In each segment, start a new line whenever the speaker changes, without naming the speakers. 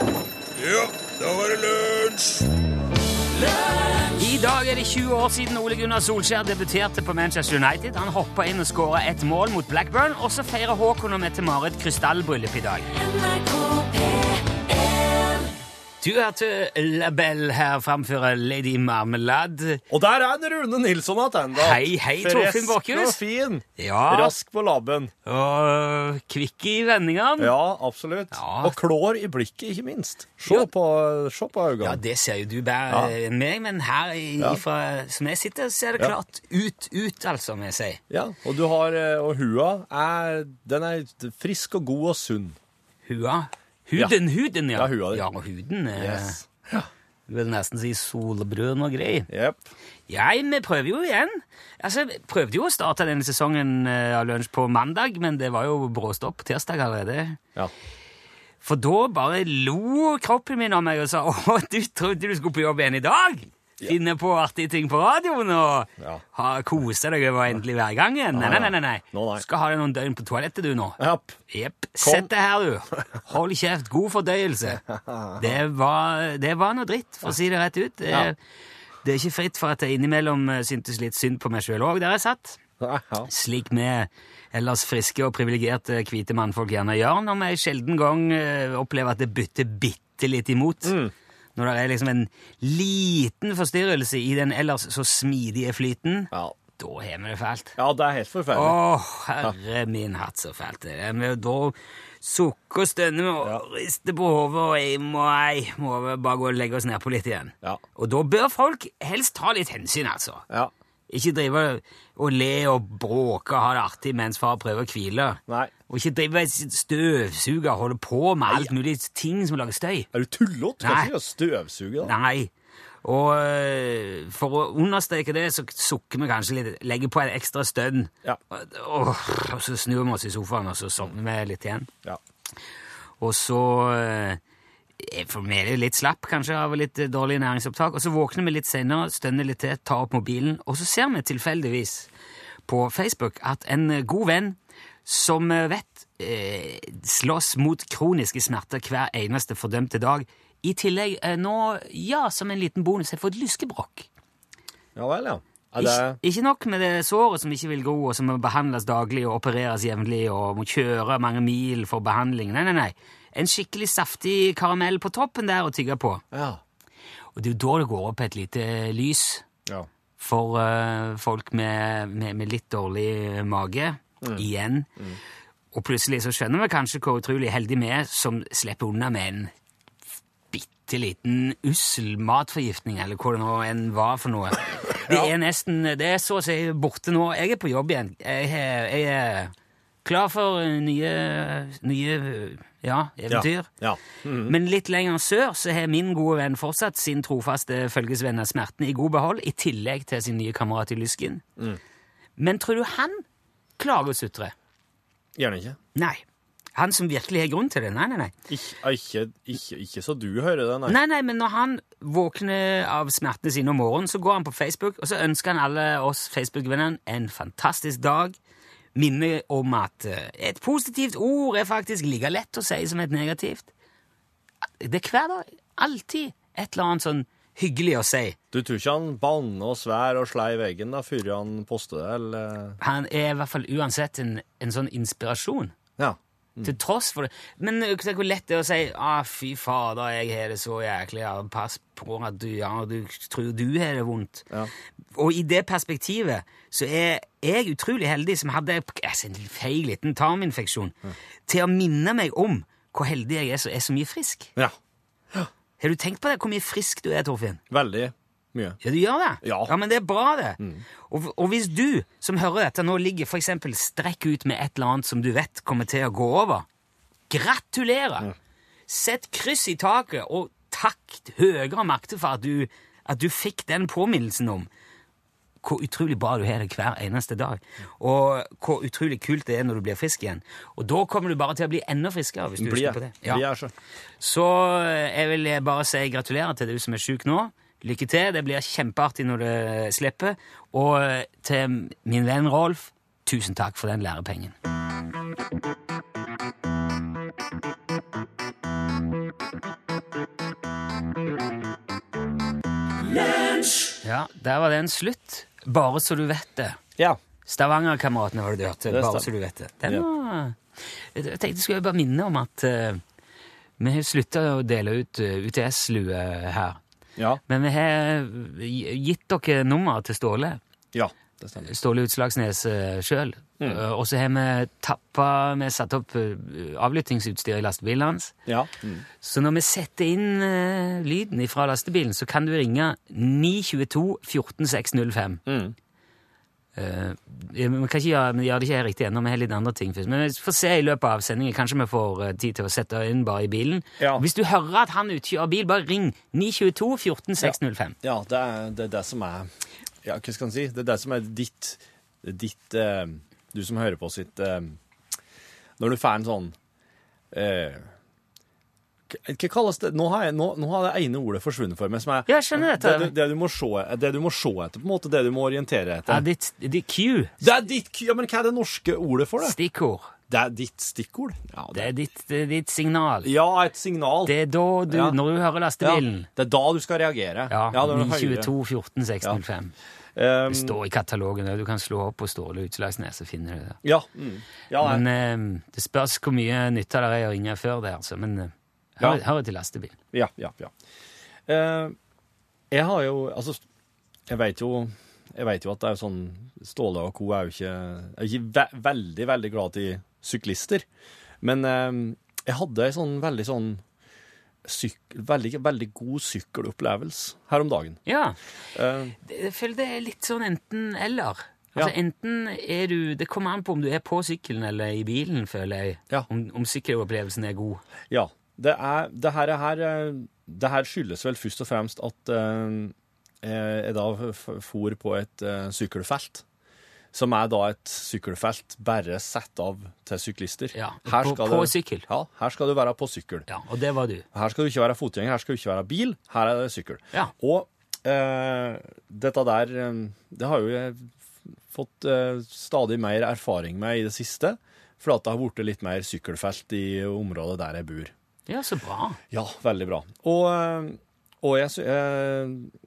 Ja, da var det lunsj!
I dag er det 20 år siden Ole Gunnar Solskjær debuterte på Manchester United. Han hoppa inn og skåra ett mål mot Blackburn, og så feirer Håkon og Mette-Marit krystallbryllup i dag. Du hørte Labelle her framføre Lady Marmelade.
Og der er en Rune Nilsson attende.
Hei, hei, Torfinn
Fresk og
Bakhus.
fin.
Ja,
Rask på labben.
og kvikk i vendingene.
Ja, absolutt.
Ja.
Og klår i blikket, ikke minst. Se
Jo.
på, se på øynene.
Ja, det ser jo du bedre
Ja.
enn meg, men her i-
Ja.
ifra, som jeg sitter, ser det
Ja.
klart ut, ut, altså, må jeg si.
Ja, og du har eh, Og hua er Den er frisk og god og sunn.
Hua. Huden, huden, ja.
Ja, hua di.
Ja, og huden. eh,
Yes.
Du vil nesten si solbrød og greier.
Jepp.
Ja, vi prøver jo igjen. Altså, vi prøvde jo å starte denne sesongen eh, av lunsj på mandag, men det var jo bråstopp på tirsdag allerede.
Ja.
For da bare lo kroppen min av meg og sa «Åh, du trodde du skulle på jobb igjen i dag? Finne på artige ting på radioen og
Ja.
ha, kose deg over endelig hver gang igjen? Nei, nei, nei. nei, nei.
Nå, nei.
Skal ha deg noen døgn på toalettet du nå.
Japp.
Jepp. Sett deg her, du. Hold kjeft. God fordøyelse. Det var, det var noe dritt, for å si det rett ut. Det,
Ja.
det er ikke fritt for at jeg innimellom eh, syntes litt synd på meg sjøl òg, der jeg satt.
Ja.
Slik vi ellers friske og privilegerte hvite mannfolk gjerne gjør når vi sjelden gang eh, opplever at det butter bitte litt imot.
Mm.
Når det er liksom en liten forstyrrelse i den ellers så smidige flyten,
Ja.
da har vi det fælt.
ja, det er helt forferdelig.
Åh, herre min hatt så fælt det er. Men da sukker og stønner vi og rister på hodet, og jeg må, jeg må bare gå og legge oss nedpå litt igjen.
Ja.
Og da bør folk helst ta litt hensyn, altså.
Ja.
Ikke drive og le og bråke og ha det artig mens far prøver å hvile.
Nei.
Og ikke drive og støvsuge og holde på med alt mulig ting som lager støy.
Er du tullete? Kan
Nei.
ikke gjøre støvsuge, da.
Nei. Og øh, for å understreke det, så sukker vi kanskje litt, legger på en ekstra stønn.
Ja.
Og, og så snur vi oss i sofaen, og så sovner vi litt igjen.
Ja.
Og så øh, er for meg det litt slapp, kanskje, av litt eh, dårlig næringsopptak. Og så våkner vi litt senere, stønner litt til, tar opp mobilen, og så ser vi tilfeldigvis på Facebook at en eh, god venn som eh, vet eh, slåss mot kroniske smerter hver eneste fordømte dag. I tillegg eh, nå, ja, som en liten bonus, har jeg fått lyskebrokk.
ja vel, ja. Er det
Ikke, ikke nok med det såret som ikke vil gro, og som må behandles daglig og opereres jevnlig og må kjøre mange mil for behandling. Nei, nei, nei. En skikkelig saftig karamell på toppen der å tygge på.
Ja.
Og det er jo da det går opp et lite lys
ja.
for eh, folk med, med, med litt dårlig mage. Igjen. Og plutselig så skjønner vi kanskje hvor utrolig heldige vi er som slipper unna med en bitte liten ussel matforgiftning, eller hva det nå enn var for noe. Det er nesten Det er så å si borte nå. Jeg er på jobb igjen. Jeg, er- jeg er klar for nye, nye ja, eventyr.
Ja.
Men litt lenger sør så har min gode venn fortsatt sin trofaste følgesvenn av smerten i god behold, i tillegg til sin nye kamerat i lysken. Men tror du han klager og sutrer?
Gjerne ikke.
Nei. Han som virkelig har grunn til det? Nei, nei, nei.
Ikke, ah, ikke, ikke, ikke så du hører det, nei.
Nei, nei, men når han våkner av smertene sine om morgenen, så går han på Facebook, og så ønsker han alle oss Facebook-vennene en fantastisk dag. Minner om at eh, et positivt ord er faktisk like lett å si som et negativt. Det er hver dag alltid et eller annet sånn hyggelig å si.
Du tror ikke han banner og svær og slei veggen da før han poster det, eller
Han er i hvert fall uansett en, en sånn inspirasjon.
Ja.
Til tross for det. Men eh, tenk hvor lett det er å si ah, 'fy fader, jeg har det så jæklig', ja, 'pass på at du, ja, du tror du har det vondt'.
Ja.
Og i det perspektivet så er jeg utrolig heldig som hadde altså, en feig liten tarminfeksjon, til å minne meg om hvor heldig jeg er som er så mye frisk.
ja.
Har du tenkt på det? Hvor mye frisk du er, Torfinn?
Veldig mye.
Ja, Mm. du gjør det?
Ja.
men det er bra, det. Og, og hvis du som hører dette nå ligger for eksempel strekk ut med et eller annet som du vet kommer til å gå over, gratulerer! Sett kryss i taket, og takk høyere makte for at du, at du fikk den påminnelsen om hvor utrolig bra du har det hver eneste dag, og hvor utrolig kult det er når du blir frisk igjen. Og da kommer du bare til å bli enda friskere. hvis du
Blir
husker på det.
jeg. Blir jeg så.
Så eh, jeg vil bare si gratulerer til du som er syk nå. Lykke til. Det blir kjempeartig når det slipper. Og eh, til min venn Rolf, tusen takk for den lærepengen. Ja, Der var den slutt. Bare så du vet det.
Ja.
Stavangerkameratene var det du hørte.
Det
Bare
stemmer.
så du vet det. Den
Ja.
var... Jeg tenkte jeg skulle bare minne om at eh, vi har slutta å dele ut eh, UTS-lue her.
Ja.
Men vi har eh, gitt dere nummer til Ståle.
ja. Det stemmer.
Ståle Utslagsnes sjøl.
Mm.
Og så har vi tappa Vi har satt opp eh, avlyttingsutstyr i lastebilen hans.
Ja. Mm.
Så når vi setter inn eh, lyden fra lastebilen, så kan du ringe 922 14605.
Mm.
Eh, vi kan ikke gjøre, vi gjør det ikke helt riktig ennå, vi har litt andre ting først. Men vi får se i løpet av sendingen. Kanskje vi får eh, tid til å sette inn bare i bilen.
Ja.
Hvis du hører at han utkjører bil, bare ring 922 14605.
Ja, det er, det er det som er Ja, hva skal en si? Det er det som er ditt Ditt eh, Du som hører på sitt eh, Når du får en sånn eh, hva hva kalles det? Nå har, jeg, nå, nå har det ene ordet forsvunnet for meg, som er
Ja, jeg skjønner
det,
dette.
du- det, du må se, e- det du må se etter, på en måte. Det du må orientere
Ja,
etter.
ditt, ditt Q,
Det er ditt k- Ja, men hva er det norske ordet for det?
stikkord.
Det er ditt stikkord. Ja,
Det er ditt, det er ditt signal.
ja et signal.
Det er da du,
Ja.
når du hører
ja,
lastebilen.
det er da du skal reagere.
Ja,
det er høyre.
922 14605.
Um,
Det står i katalogen, og du kan slå opp på Ståle Utslagsnes, så finner du det.
ja. Mm, ja, nei.
Men eh, det spørs hvor mye nytte det er å ringe før det, altså. Men eh, hør,
Ja.
hør til lastebil.
Ja, ja, ja. Eh, jeg har jo Altså, jeg veit jo jeg vet jo at det er jo sånn Ståle og co. er jo ikke, er ikke ve veldig, veldig glad i syklister. Men eh, jeg hadde ei sånn veldig sånn syk, veldig, veldig god sykkelopplevelse her om dagen.
Ja.
Eh,
det- Jeg føler det er litt sånn enten-eller. Altså,
Ja.
Enten er du Det kommer an på om du er på sykkelen eller i bilen, føler jeg.
Ja.
Om, om sykkelopplevelsen er god.
ja. Det, er, det, her, er her, eh, det her skyldes vel først og fremst at eh, jeg jeg da f- for på et eh, sykkelfelt. Som er da et sykkelfelt bare satt av til syklister.
Ja.
Her
På,
skal
på
det-
sykkel.
Ja, her skal du være på sykkel.
Ja, og det var du.
Her skal du ikke være fotgjenger, her skal du ikke være bil, her er det sykkel.
Ja.
Og eh, dette der, eh, det har jo jeg fått eh, stadig mer erfaring med i det siste, for at det har vært litt mer sykkelfelt i området der jeg bor.
Ja, så bra.
Ja, veldig bra. Og, eh, og jeg, sy- eh,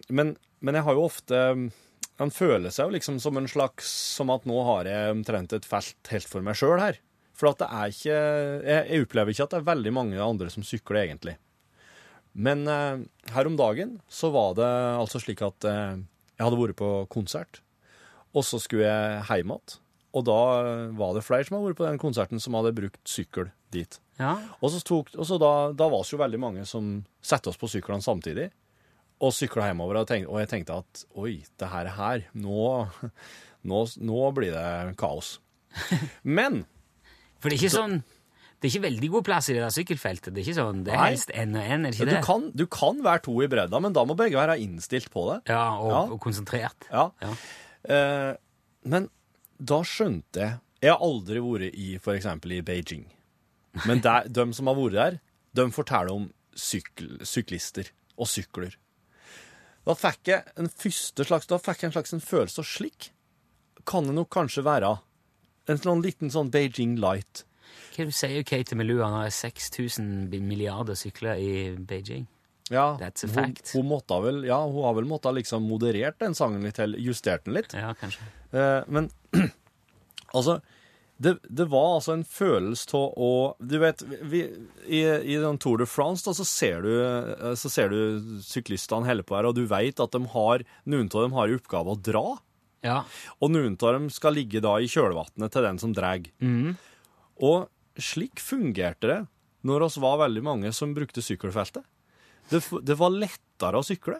men, men jeg har jo ofte eh, Man føler seg jo liksom som en slags Som at nå har jeg omtrent et felt helt for meg sjøl her. For at det er ikke jeg, jeg opplever ikke at det er veldig mange andre som sykler, egentlig. Men eh, her om dagen så var det altså slik at eh, jeg hadde vært på konsert, og så skulle jeg hjem igjen. Og da eh, var det flere som hadde vært på den konserten, som hadde brukt sykkel dit.
Ja.
Og så, tok, og så da, da var det jo veldig mange som sette oss på syklene samtidig, og sykla hjemover. Og, tenkte, og jeg tenkte at oi, det her er her. Nå, nå, nå blir det kaos. Men
For det er ikke sånn Det er ikke veldig god plass i det der sykkelfeltet. Det er ikke sånn, det er
Nei.
helst én og én, er
ja,
det ikke
du
det?
kan, du kan være to i bredda, men da må begge være innstilt på det.
Ja, og,
Ja.
og konsentrert.
Ja.
Ja.
Eh, men da skjønte jeg Jeg har aldri vært i for eksempel i Beijing. Men der, de som har vært der, de forteller om sykl, syklister og sykler. Da fikk jeg en første slags Da fikk jeg en slags en følelse av slik. Kan det nok kanskje være en sånn liten sånn Beijing light.
Hva er det du sier du, Kate Melua, når det er 6000 milliarder sykler i Beijing?
Ja,
That's a
hun,
fact.
hun, måtte vel, ja, hun har vel måttet liksom moderert den sangen litt, eller justert den litt.
Ja, kanskje.
Eh, men altså det, det var altså en følelse av å Du vet, vi, i, i den Tour de France da, så ser du, eh, så ser du syklistene holder på her, og du vet at de har, noen av dem har i oppgave å dra.
Ja.
Og noen av dem skal ligge da i kjølvannet til den som drar.
Mhm.
Og slik fungerte det når oss var veldig mange som brukte sykkelfeltet. Det, f- det var lettere å sykle.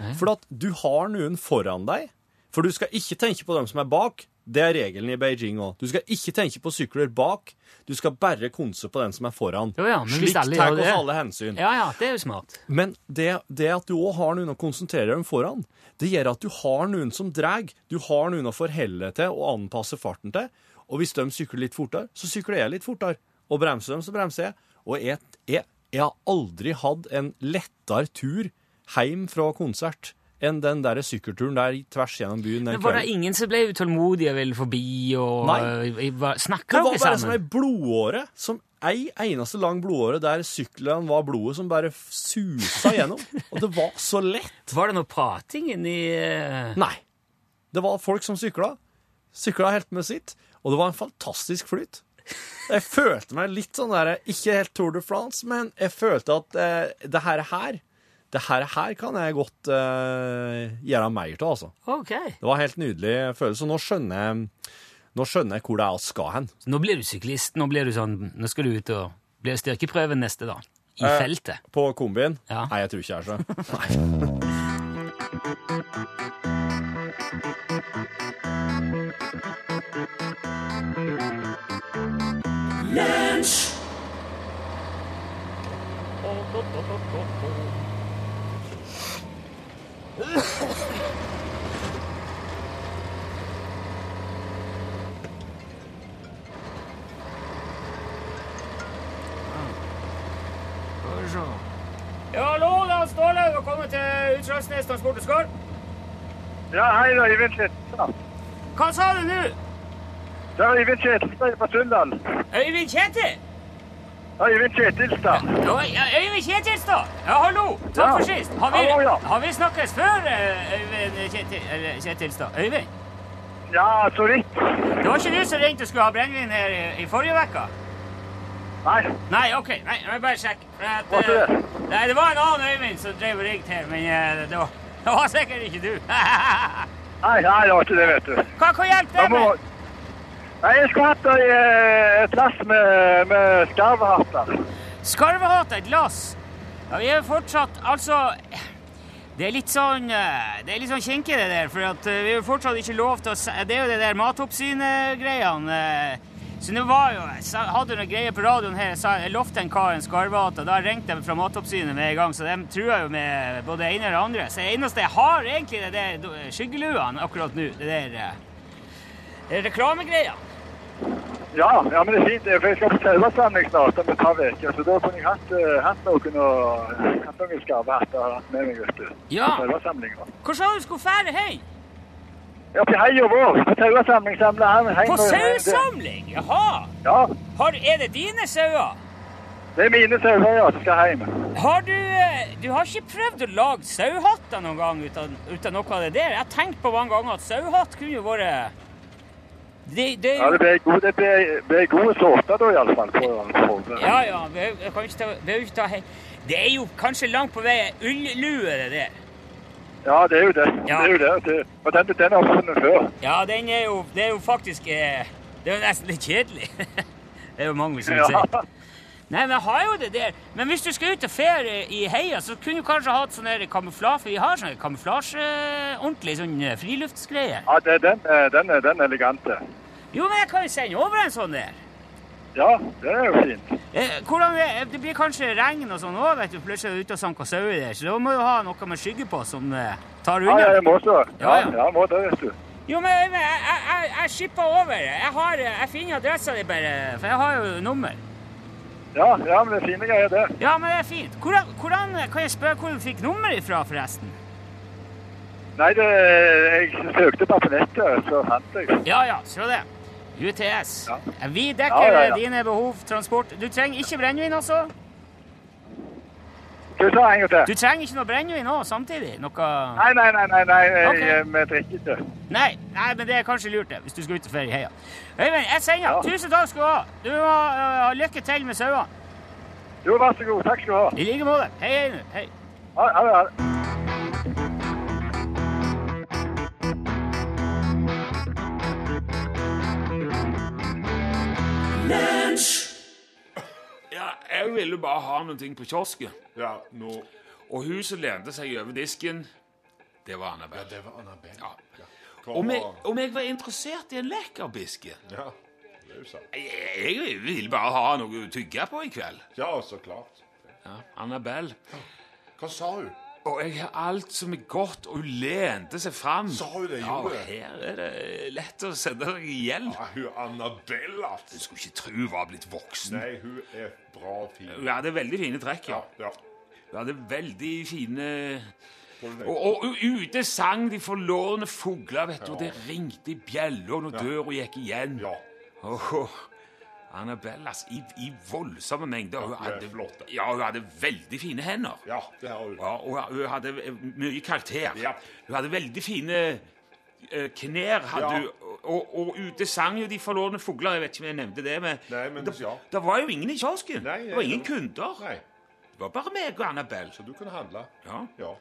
Ja.
For at du har noen foran deg. For du skal ikke tenke på dem som er bak. Det er regelen i Beijing òg. Du skal ikke tenke på sykler bak. Du skal bare konse på den som er foran.
Jo, ja, men hvis
Slik
alle
tar
gjør
oss
det-
alle hensyn.
ja, ja, det er jo smart.
Men det, det at du òg har noen å konsentrere deg om foran, det gjør at du har noen som drar. Du har noen å forholde deg til og anpasse farten til. Og hvis de sykler litt fortere, så sykler jeg litt fortere. Og bremser dem, så bremser jeg. Og jeg, jeg, jeg har aldri hatt en lettere tur hjem fra konsert enn den der sykkelturen der tvers gjennom byen. den
Men var det
kvelden.
ingen som ble utålmodige og eh, ville forbi og
Nei.
Snakka
det var
dere
bare som ei
sammen?
blodåre som ei eneste lang blodåre der syklene var blodet som bare f- susa gjennom. Og det var så lett.
Var det noe prating inni eh,
Nei. Det var folk som sykla. Sykla helt med sitt. Og det var en fantastisk flyt. Jeg følte meg litt sånn der Ikke helt Tour de France, men jeg følte at eh, det her her Det her her kan jeg godt eh, gjøre mer av, altså.
OK.
Det var en helt nydelig følelse. Og nå skjønner jeg nå skjønner jeg hvor det er vi skal hen.
Så nå blir du syklist. Nå blir du sånn Nå skal du ut og Blir det styrkeprøven neste, da? I
Eh.
feltet.
På kombien?
Ja.
Nei, jeg tror ikke jeg er så. Nei.
Ja, hallo, Lars Ståle. Velkommen til Utslagsnes transporteskår.
Ja, hei, det er Øyvind Kjetil.
Hva sa du nå?
Det er Øyvind Kjetilstad fra Sunnland.
Øyvind Kjetil?
Øyvind Kjetilstad.
Øyvind Kjetilstad! Ja, hallo! Takk
Ja.
for sist! Har vi,
Hallo, ja.
har vi snakkes før, eh, Øyvind Kjetil, eller Kjetilstad? Øyvind?
Ja, så vidt.
Det var ikke du som ringte og skulle ha brennevin her i, i forrige uke?
Nei,
Nei, OK. Nei, jeg bare sjekke. For at,
Hva
eh,
skjer?
Nei, det var en annen Øyvind som drev og ringte her, men eh, det, var, det var sikkert ikke du.
nei, nei, det var ikke det, vet du.
Hva kan hjelpe
Da
deg
må...
med?
Nei, jeg skulle hatt ei, eh, et lass med, med skarvehatter.
Skarvehatt et lass. Ja, vi er fortsatt Altså Det er litt sånn eh, Det er litt sånn kinkig, det der. For at eh, vi er jo fortsatt ikke lov til å se- Det er jo det der Matoppsynet-greiene. eh. Så nå var jo Jeg sa- hadde noen greier på radioen her. Jeg, sa, jeg lovte en kar en skarvehatt, og da ringte de fra Matoppsynet med en gang. Så de truer jo med både det ene og det andre. Så det eneste jeg har, egentlig, det er do- skyggeluene akkurat nå. Det der eh, reklamegreia.
Ja, ja, men det er fint, det, for jeg skal på sauesamling snart om et par uker. Så da kunne jeg hatt, eh, hatt noen, og, hatt noen skarvehatter og hatt med meg, vet du.
Ja.
På sauesamlinga.
Hvor sa du skulle fære hjem?
Oppi heia vår. På sauesamling samla han heim
På
og-
sauesamling? Jaha!
Ja.
Har, er det dine sauer?
Det er mine sauer, ja, som skal hjem.
Har du, eh, du har ikke prøvd å lage sauehatter noen gang uten, uten noe av det der? Jeg har tenkt på mange ganger at sauehatt kunne jo vært det, det,
Ja, det blir god, det blir, blir gode sorter da, iallfall. På, på,
ja, ja, vi jeg kan ikke ta, vi kan ikke ta hei. Det er jo kanskje langt på vei ullue, det der.
ja, det er jo det.
Ja.
det, er jo det. det og den, den har jeg funnet før.
Ja, den er jo, det er jo faktisk eh, Det er jo nesten litt kjedelig. det er jo mange som
Ja.
sier. Nei, men jeg har jo det der. Men hvis du skal ut og ferie i heia, så kunne du kanskje hatt sånn der kamuflasje. For vi har sånn kamuflasje, ordentlig sånn eh, friluftsgreie.
ja det, den, eh, den, er- den er elegante.
Jo, men jeg kan jo sende over en sånn der.
Ja, det er jo fint.
Eh, hvordan er, Det blir kanskje regn og sånn òg, vet du. Plutselig er du ute og sanker sauer der. Så da må du ha noe med skygge på som eh, tar
Ja,
unna.
ja, jeg må så. Ja,
Ja, ja.
ja, jeg må det, vet du.
Jo, men Øyvind, jeg, jeg, jeg, jeg skipper over. Jeg, har, eh, jeg finner adressa di bare, for jeg har jo nummer.
Ja, ja, men det er fine greier, det.
Ja, men det er fint. Hvordan, hvordan kan jeg spørre hvor du fikk nummeret ifra, forresten?
Nei, det, jeg søkte bare på nettet, så fant jeg.
Ja, ja, se det. UTS.
Ja.
Vi dekker
Ja, ja, ja.
dine behov, transport. Du trenger ikke brennevin også?
Skal vi ta en gang
Du
til?
trenger ikke noe brennevin òg samtidig? Noe
Nei, nei, nei, nei, nei, jeg,
Ok.
eh, vi drikker ikke.
Nei. Nei, men det er kanskje lurt, det, hvis du skal ut og ferie i heia. Øyvind, jeg sender.
Ja.
Tusen takk skal du ha. Du må øh, ha lykke til med sauene.
Jo, vær så god. Takk skal du ha.
I like måte. Hei, hei nå. Hei.
Ha ha det. ha det.
Ja, jeg ville bare ha noen ting på kiosken.
Ja, nå
Og hun som lente seg over disken, det var Annabelle.
Det var Annabelle.
Ja.
Kom
Om, jeg,
og-
om jeg var interessert i en lekkerbiske?
Ja, det er jo sant.
Jeg, jeg ville bare ha noe å tygge på i kveld.
Ja, så klart.
Ja, Annabelle.
Hva sa hun?
Og jeg har alt som er godt, og hun lente seg fram.
Sa hun det,
Ja, og
gjorde hun?
her er det lett å sette seg i gjeld.
Ja, hun Annabelle, altså.
Jeg skulle ikke tro hun var blitt voksen.
Nei, hun er bra fin.
Hun hadde veldig fine trekk, ja.
Ja, ja.
Hun hadde veldig fine
Hold deg.
Og, og u- ute sang de forlorne fugler, vet du, og det ringte i bjeller når døra gikk igjen.
Ja.
Åh, Annabellas i, i voldsomme mengder. Hun
Ja, hun er flott, da.
ja, hun hadde veldig fine hender.
Ja, det har hun.
Ja, og hun hadde eh, mye karakter.
Ja.
Hun hadde veldig fine eh, knær, hadde
Ja.
hun. Og, og ute sang jo de forlorne fugler. Jeg vet ikke om jeg nevnte det, men,
Nei, men
det,
ja.
det var jo ingen i kiosken.
Nei,
det var
jeg-
ingen kunder.
Nei,
Det var bare meg og Annabelle.
så du kunne handle.
Ja.
Ja.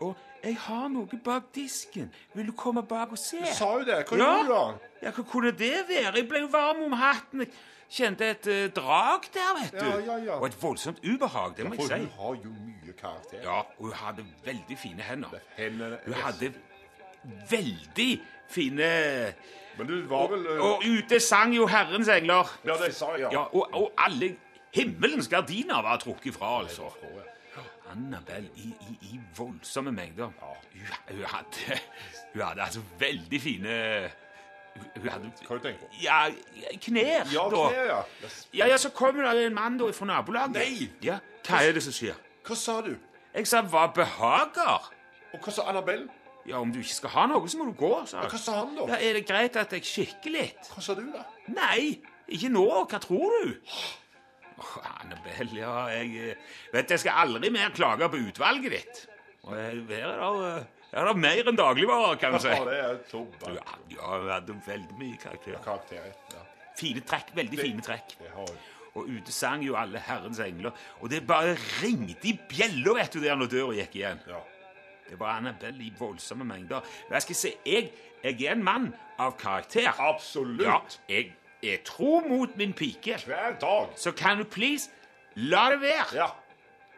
Og jeg har noe bak disken. Vil du komme bak og se?
Sa hun det? Hva
Ja.
gjorde hun da?
Ja, hva kunne det være? Jeg ble jo varm om hatten. Jeg kjente et eh, drag der, vet du.
Ja, ja, ja.
Og et voldsomt ubehag, det må
For
jeg
hun
si.
har jo mye karakter.
Ja, og hun hadde veldig fine hender.
Hendene
Hun hadde veldig fine
Men du var vel eh,
Og ute sang jo Herrens engler.
Ja, det sa jeg, ja.
Ja, og, og alle himmelens gardiner var trukket fra, altså.
Å, ja.
Annabelle i, i, i voldsomme mengder. Hun, hun hadde Hun hadde altså veldig fine Hun hun hadde
Hva har du tenkt på?
Ja, knær,
Ja,
da.
knær, ja.
Ja, ja, så kommer det en mann da fra nabolaget.
Nei!
Ja, Hva er det som skjer?
Hva sa du?
Jeg sa 'hva behager'?
Og hva sa Annabelle?
Ja, Om du ikke skal ha noe, så må du gå. sa
Ja,
jeg.
hva sa han da?
Ja, Er det greit at jeg kikker litt?
Hva sa du da?
Nei, ikke nå. Hva tror du? Åh, Annabelle, ja, jeg eh, Vet du, jeg skal aldri mer klage på utvalget ditt. Og eh, Her er det, eh, her er det mer enn dagligvarer, kan du si.
Ja, det er tobakk.
Ja, ja, hun hadde veldig mye karakter.
Karakter. Ja.
Fine trekk, veldig fine trekk.
Det har hun.
Og ute sang jo alle Herrens engler. Og det bare ringte i bjella vet du, der når døra gikk igjen.
Ja.
Det var Annabelle i voldsomme mengder. Men jeg skal si, jeg, jeg er en mann av karakter.
Absolutt.
Ja, jeg er tro mot min pike.
Hver dag.
Så kan du please la det være.
Ja.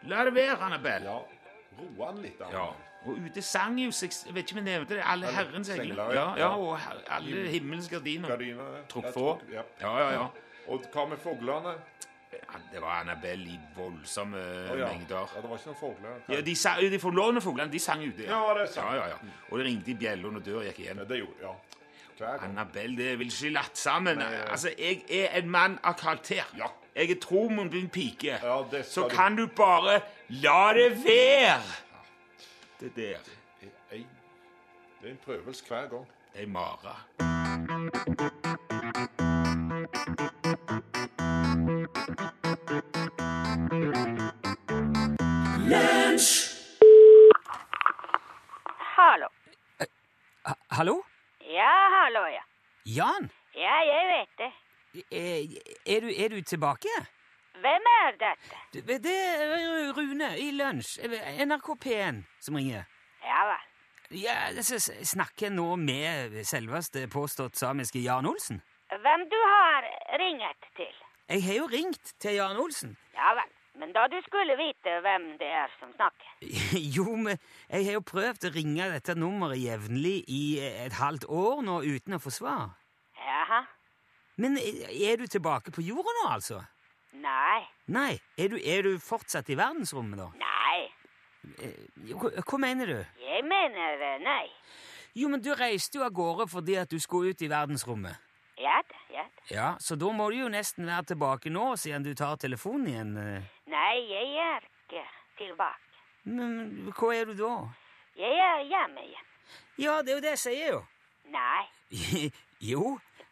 La det være, Annabelle.
ja. Roe han litt.
Ja. Og ute sang jo seg, jeg vet ikke om jeg nevnte det, alle Herrens engler.
engler,
Ja,
ja.
ja, og her- alle himmelens gardiner.
Gardiner.
Trukk
Jeg
fra.
trukk-
Ja,
Ja.
ja, ja.
Og hva med fuglene?
Ja, Det var Annabelle i voldsomme
Å, ja.
mengder.
Ja, det var ikke noen fugler.
Ja, de, sa, de forlåne fuglene, de sang ute.
Ja, det sang.
Ja, ja, ja. Og det ringte i bjella når døra gikk igjen.
Ja, det gjorde Ja. Hver gang.
Annabelle, det er vel ikke latt sammen.
Nei, ja.
Altså, jeg er en mann av karakter.
Ja.
Jeg er tro mot min pike.
Ja, det skal
Så
du.
kan du bare la det være. Det der
Ei- Det er en prøvelse hver gang.
er ei mare.
Hallo.
Ha- Hallo?
Ja, hallo, ja.
Jan?
Ja, jeg vet det.
Er, er, du, er du tilbake?
Hvem er dette?
Du, Det er Rune i Lunsj, NRK P1, som ringer.
Ja vel.
Ja, jeg s- s- snakker nå med selveste påstått samiske Jan Olsen.
Hvem du har ringet til?
Jeg har jo ringt til Jan Olsen.
Ja vel. Men da du skulle vite hvem det er som snakker.
Jo, men jeg har jo prøvd å ringe dette nummeret jevnlig i et halvt år nå uten å få svar.
Jaha.
Men er du tilbake på jorda nå, altså?
Nei.
Nei. Er du, er du fortsatt i verdensrommet, da?
Nei.
Jo, Hva, hva mener du?
Jeg mener eh, nei.
Jo, men du reiste jo av gårde fordi at du skulle ut i verdensrommet.
Ja da, ja da.
Ja, så da må du jo nesten være tilbake nå, siden du tar telefonen igjen. eh.
Nei, jeg er ikke tilbake.
Men men hva er du da?
Jeg er hjemme igjen.
Ja, det er jo det jeg sier, jo.
Nei.
jo.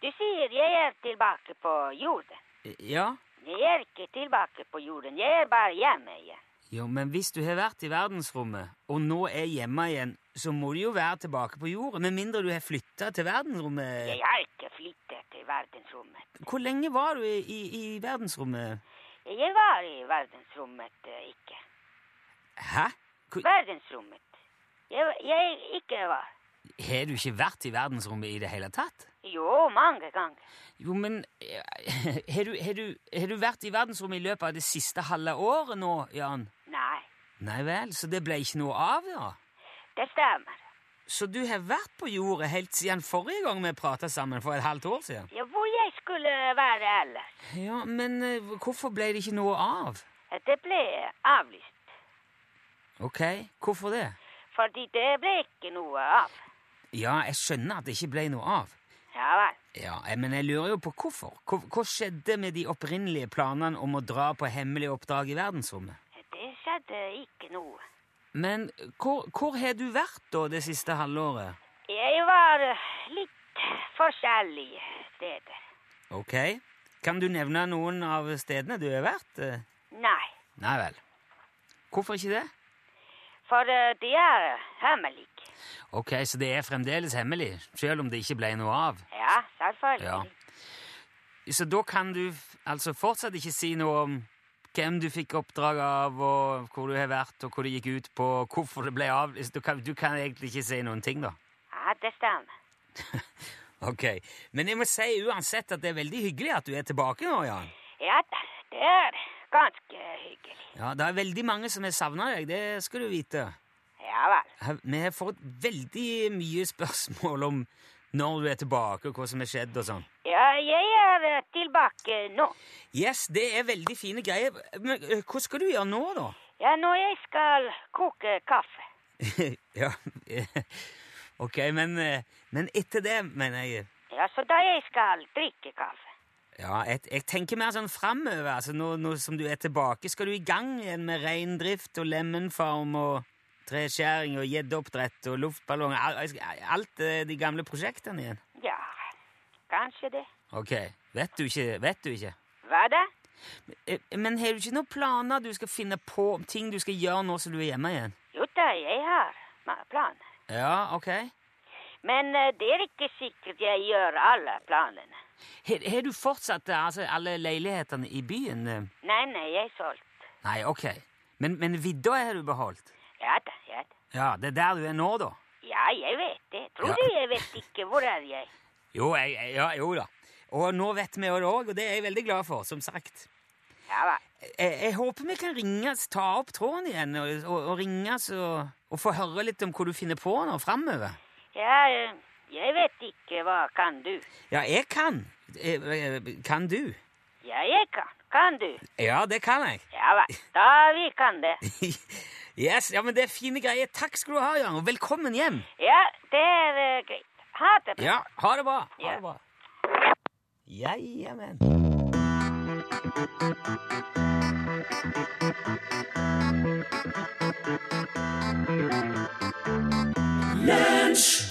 Du sier jeg er tilbake på jorden.
Ja.
Jeg er ikke tilbake på jorden. Jeg er bare hjemme igjen.
Jo, men hvis du har vært i verdensrommet, og nå er hjemme igjen, så må du jo være tilbake på jorda, med mindre du har flytta til verdensrommet.
Jeg har ikke flyttet til verdensrommet.
Hvor lenge var du i, i, i verdensrommet?
Jeg var i verdensrommet eh, ikke.
Hæ? Hvor-
Verdensrommet. Jeg, jeg ikke var.
Har du ikke vært i verdensrommet i det hele tatt?
Jo, mange ganger.
Jo, men eh, har du, har du, har du vært i verdensrommet i løpet av det siste halve året nå, Jan?
Nei,
Nei vel, så det ble ikke noe av, da?
det stemmer.
Så du har vært på jorda helt siden forrige gang vi prata sammen, for et halvt år siden?
Ja, hvor jeg skulle være ellers. eh,
Ja, men eh, hvorfor ble det ikke noe av?
Det ble avlyst.
Ok, hvorfor det?
Fordi det ble ikke noe av.
Ja, jeg skjønner at det ikke ble noe av.
Ja vel.
Ja, eh, Men jeg lurer jo på hvorfor. Hva, hva skjedde med de opprinnelige planene om å dra på hemmelig oppdrag i verdensrommet?
eh, Det skjedde ikke noe.
Men hvor, hvor har du vært da det siste halvåret?
Jeg var eh, litt forskjellige steder.
Ok, Kan du nevne noen av stedene du har vært? Eh,
Nei,
Nei vel. Hvorfor ikke det?
for eh, det er hemmelig.
Ok, så det er fremdeles hemmelig, selv om det ikke ble noe av.
Ja, selvfølgelig.
Ja. Så da kan du f- altså fortsatt ikke si noe om hvem du fikk oppdrag av, og hvor du har vært, og hva det gikk ut på, og hvorfor det ble av. Du kan, du kan egentlig ikke si noen ting, da.
Ja, det stemmer.
Ok, Men jeg må si uansett at det er veldig hyggelig at du er tilbake nå, Jan.
Ja, da, det er ganske hyggelig.
Ja, Det er veldig mange som har savna deg, det skal du vite.
Ja vel.
Her- Vi har fått veldig mye spørsmål om når du er tilbake, og hva som har skjedd og sånn.
Ja, jeg er eh, tilbake nå.
Yes, det er veldig fine greier. Men eh, hva skal du gjøre nå, da?
Ja, når jeg skal koke kaffe.
ja, eh, ok, men, eh, men etter det, mener jeg
Ja, så da jeg skal drikke kaffe.
Ja, jeg, jeg tenker mer sånn framover. Altså, nå, nå som du er tilbake, skal du i gang igjen med reindrift og lemenfarm og treskjæring og gjeddeoppdrett og luftballonger. al- jeg skal- Alt eh, de gamle prosjektene igjen.
Ja, kanskje det.
Ok, vet du ikke? Vet du ikke?
Hva da?
Eh, Men har du ikke noen planer du skal finne på om ting du skal gjøre nå som du er hjemme igjen?
Jo da, jeg har ma- planer.
Ja, ok.
Men eh, det er ikke sikkert jeg gjør alle planene.
Har har du fortsatt eh, altså, alle leilighetene i byen? eh?
Nei, nei, jeg solgte.
Nei, ok. Men, men vidda har du beholdt?
Ja da, ja da.
Ja, det er der du er nå, da?
Ja, jeg vet det. Tror
Ja.
du jeg vet ikke hvor er jeg?
Jo, jeg, jeg- ja, jo da. Og nå vet vi jo det òg, og det er jeg veldig glad for, som sagt.
Ja vel.
Jeg, jeg håper vi kan ringes, ta opp tråden igjen og, og, og ringes og, og få høre litt om hva du finner på nå framover.
Ja, eh, jeg vet ikke hva kan du.
Ja, jeg kan. Eh, eh, Kan du?
Ja, jeg kan. Kan du?
Ja, det kan jeg.
Ja vel. Da vi kan det.
Yes, ja, men Det er fine greier. Takk skal du ha, Jan, og velkommen hjem.
Ja, det er eh, greit. Ha det bra.
Ja, ha det bra. Ha
Ja.
det bra. Jajamän.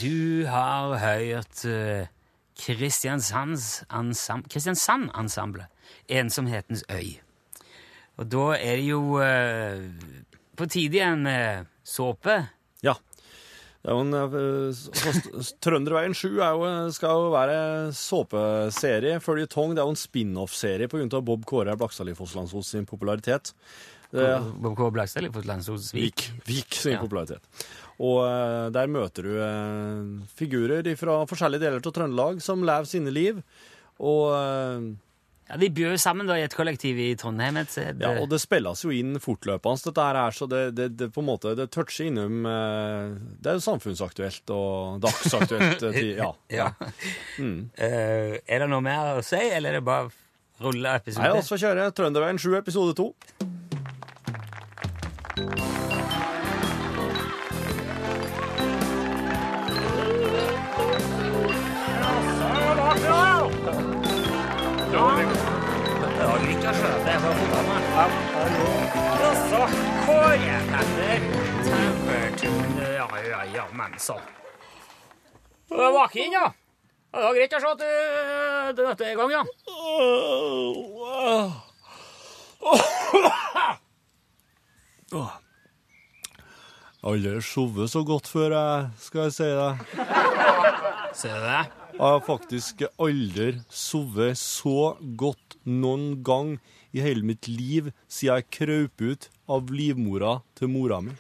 Du har hørt eh, Kristiansands ensem- Kristiansand-ensemblet, Ensomhetens øy. Og da er det jo eh, på tide igjen eh, såpe.
Ja. Det er jo en, eh, s- s- Trønderveien 7 er jo, eh, skal jo være såpeserie, føljetong. Det er jo en spin-off-serie pga. Bob Kåre Blakstadli Fosslandsås sin popularitet. Eh,
Bob K. Blakstad på Landsosvik.
Vik. Vik sin
Ja.
popularitet. Og eh, der møter du eh, figurer fra forskjellige deler av Trøndelag som lever sine liv. Og, eh,
Ja, De bor jo sammen da i et kollektiv i Trondheim. et sted.
ja, og det spilles jo inn fortløpende, dette her, så det, det, det på en måte det toucher innom eh, Det er jo samfunnsaktuelt og dagsaktuelt. eh, til- ja.
Ja. Eh, er det noe mer å si, eller er det bare å rulle
Nei,
episoden?
altså får kjøre Trønderveien 7, episode 2.
Ja, ja, ja, men så. Du er vaken, ja. Ja, Det var greit å se at du, du er i gang, ja.
Aldri sovet så godt før, jeg, skal jeg si deg.
Ser du det?
Jeg har faktisk aldri sovet så godt noen gang i hele mitt liv siden jeg krøp ut av livmora til mora mi.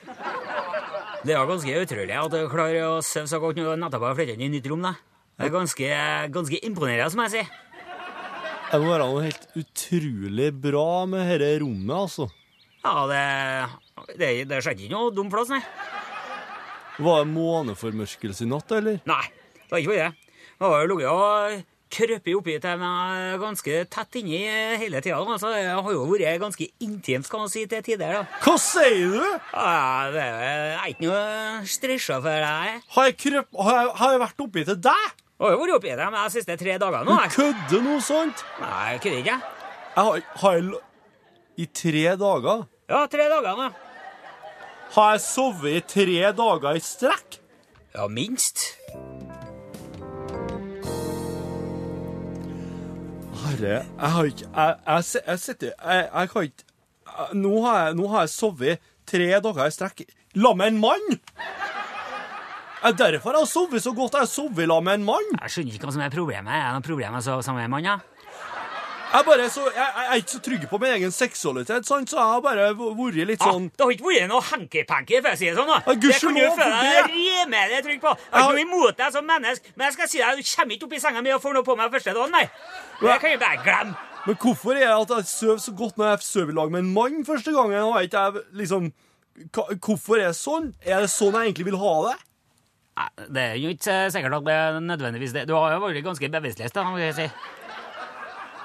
Det er jo ganske utrolig at du klarer å sove så godt når du nettopp har flyttet inn i nytt rom. da. Det er ganske, ganske imponerende, som jeg sier.
Det må være noe helt utrolig bra med dette rommet, altså.
Ja, det, det, det skjedde ikke noe dum plass, nei.
Var det måneformørkelse i natt, eller?
Nei, det var ikke det. Jeg har jo ligget og krøpet oppi til meg ganske tett inni hele tida. Altså, jeg har jo vært ganske intimt, skal man si, til tider. da.
Hva sier du?
Ja, det er jeg er ikke noe stressa for deg.
Har jeg, krøp... har jeg, har jeg vært oppi til deg?
Jeg har jo vært oppi det de siste tre dagene nå. jeg.
Kødde noe sånt?
Nei, jeg kødder ikke. jeg.
Jeg har, har jeg... lo- I tre dager?
Ja, tre dager nå.
Har jeg sovet i tre dager i strekk?
Ja, minst.
Herre ikke Jeg har ikke Jeg, jeg, se- jeg sitter jeg, jeg kan ikke jeg- Nå har jeg, nå har jeg sovet tre dager i strekk la med en mann! Det er derfor jeg har sovet så godt. Jeg har sovet la med en mann.
Jeg skjønner ikke hva som er problemet. Er det noe problem med å sove sammen med en mann? Ja?
Jeg, bare er så, jeg, jeg er ikke så trygg på min egen seksualitet, sant? så jeg har bare v- vært litt sånn
Ah, det har ikke vært noe hanky-panky, for å si det sånn. da.
Ja,
Det
gudskjelov
kan du
for
føle
det.
deg rimelig trygg på. Jeg
Ja.
er ikke noe imot deg som menneske, men jeg skal si deg, du kommer ikke opp i senga mi og får noe på meg første dagen, nei. Det kan jeg bare glemme.
Men hvorfor er det at jeg sover så godt når jeg sover i lag med en mann første gangen? Har ikke jeg liksom hva- Hvorfor er det sånn? Er det sånn jeg egentlig vil ha det?
Nei, Det er jo ikke sikkert at det er nødvendigvis det. Du har jo vært ganske bevisstløs, da, må jeg si.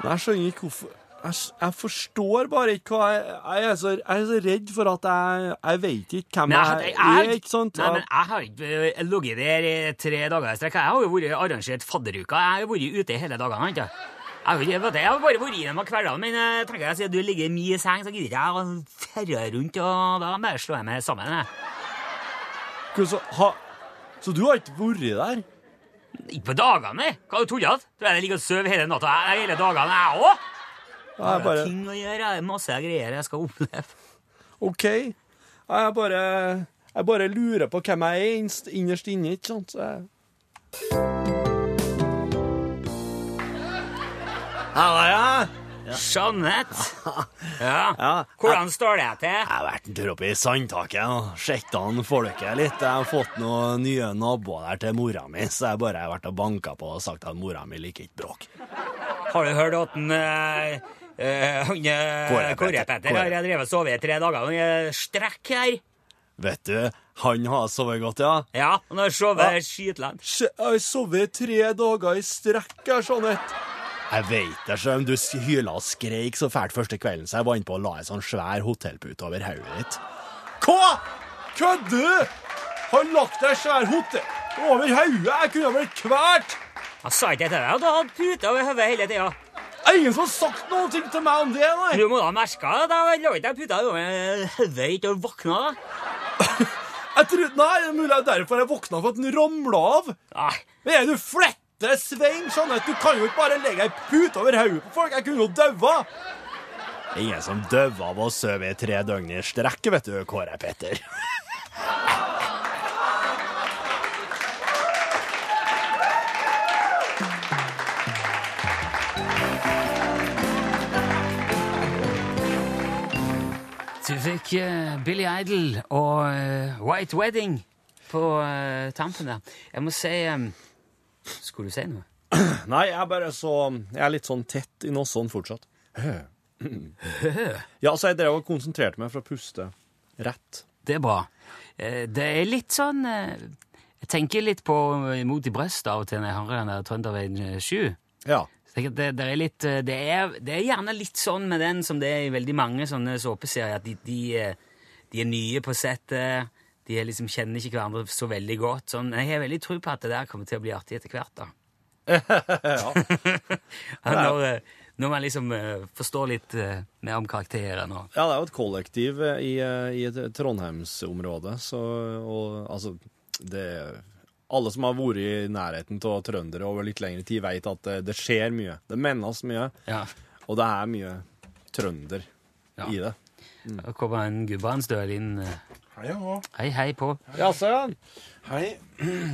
Men jeg skjønner ikke hvorfor Jeg, s- jeg forstår bare ikke hva jeg Jeg er så, jeg er så redd for at jeg Jeg vet ikke hvem
Men
jeg,
jeg, jeg,
er, ikke sant?
Nei, men jeg har ikke eh, ligget der i tre dager i strekk. Jeg har jo vært arrangert fadderuka. Jeg har jo vært ute hele dagene. ikke sant? Jeg har, jo ikke, vet du, jeg har bare vært i dem av hverdagen, men jeg tenker jeg siden du ligger mye i seng, så gidder jeg å ferre rundt, og da bare slår jeg meg sammen. Jeg.
Hva så, ha, så du har ikke vært der?
Ikke på dagene, nei. Hva har du tullet? Tror jeg jeg ligger og sover hele natta, jeg- hele dagene, jeg òg?
Jeg er
Jeg har
bare
ting å gjøre, jeg har masse greier jeg skal oppleve.
OK. Jeg bare Jeg bare lurer på hvem jeg er innst- innerst inne, ikke sant? Så jeg,
Hallo, ja. Jeanette. Ja. Hvordan står det til?
Jeg har vært en tur opp i sandtaket og sjekket an folket litt. Jeg har fått noen nye naboer der til mora mi, så jeg bare har vært og banka på og sagt at mora mi liker ikke bråk.
Har du hørt at den eh, eh, han, eh,
Kåre Petter.
Kåre Petter har
Kåre.
drevet og sovet i tre dager. Han er strekk her.
Vet du, han har sovet godt, ja.
Ja, han har sovet skitlendt.
Sj- Jeg har sovet tre dager i strekk her, Jeanette. Jeg veit det, sjøl om du hyla og skreik så fælt første kvelden, så jeg var inne på å la ei sånn svær hotellpute over hodet ditt. Hva?! Kødder du?! Har lagt ei svær hotell over hodet? Jeg kunne ha blitt kvalt!
Han sa ikke det til deg, og du hadde puta over hodet hele tida.
Det er ingen som har sagt noe til meg om det, nei!
Du må da ha merka det. da lå ikke jeg puta over hodet ditt og våkna. da.
Jeg trodde, nei, det er mulig det er derfor jeg våkna for at den ramla av.
Nei,
Men er du flette, Svein? Jeanette, du kan jo ikke bare legge ei pute over hodet på folk. Jeg kunne jo daua. Ingen som daua av å sove i tre døgn i strekk, vet du, Kåre Petter.
du fikk eh, Billy Idol og eh, White Wedding på eh, tampen der. Jeg må si eh, Skulle du si noe?
Nei, jeg er bare så Jeg er litt sånn tett i nåsene fortsatt. Mm. Ja, så jeg drev og konsentrerte meg for å puste rett.
Det er bra. Eh, Det er litt sånn eh, Jeg tenker litt på eh, Mot i brøstet av og til når jeg hører den der Trønderveien eh, 7.
Ja.
Så tenker jeg at Det, det, er litt, eh, det, er, det er gjerne litt sånn med den som det er i veldig mange sånne såpeserier, at de, de, eh, de er nye på settet, de er liksom kjenner ikke hverandre så veldig godt. Sånn. Jeg har veldig tro på at det der kommer til å bli artig etter hvert. da. Ja, når, eh, når man liksom eh, forstår litt eh, mer om karakteren og
Ja, det er jo et kollektiv eh, i, eh, i et Trondheimsområdet, så og, altså, det Alle som har vært i nærheten av trøndere over litt lengre tid, vet at det, det skjer mye. Det mennes mye,
ja.
og det er mye trønder
Ja.
i det.
Da kommer en gudbrandsdøl inn. eh,
Hei, ja.
Hei, hei på.
Jaså, ja.
Hei.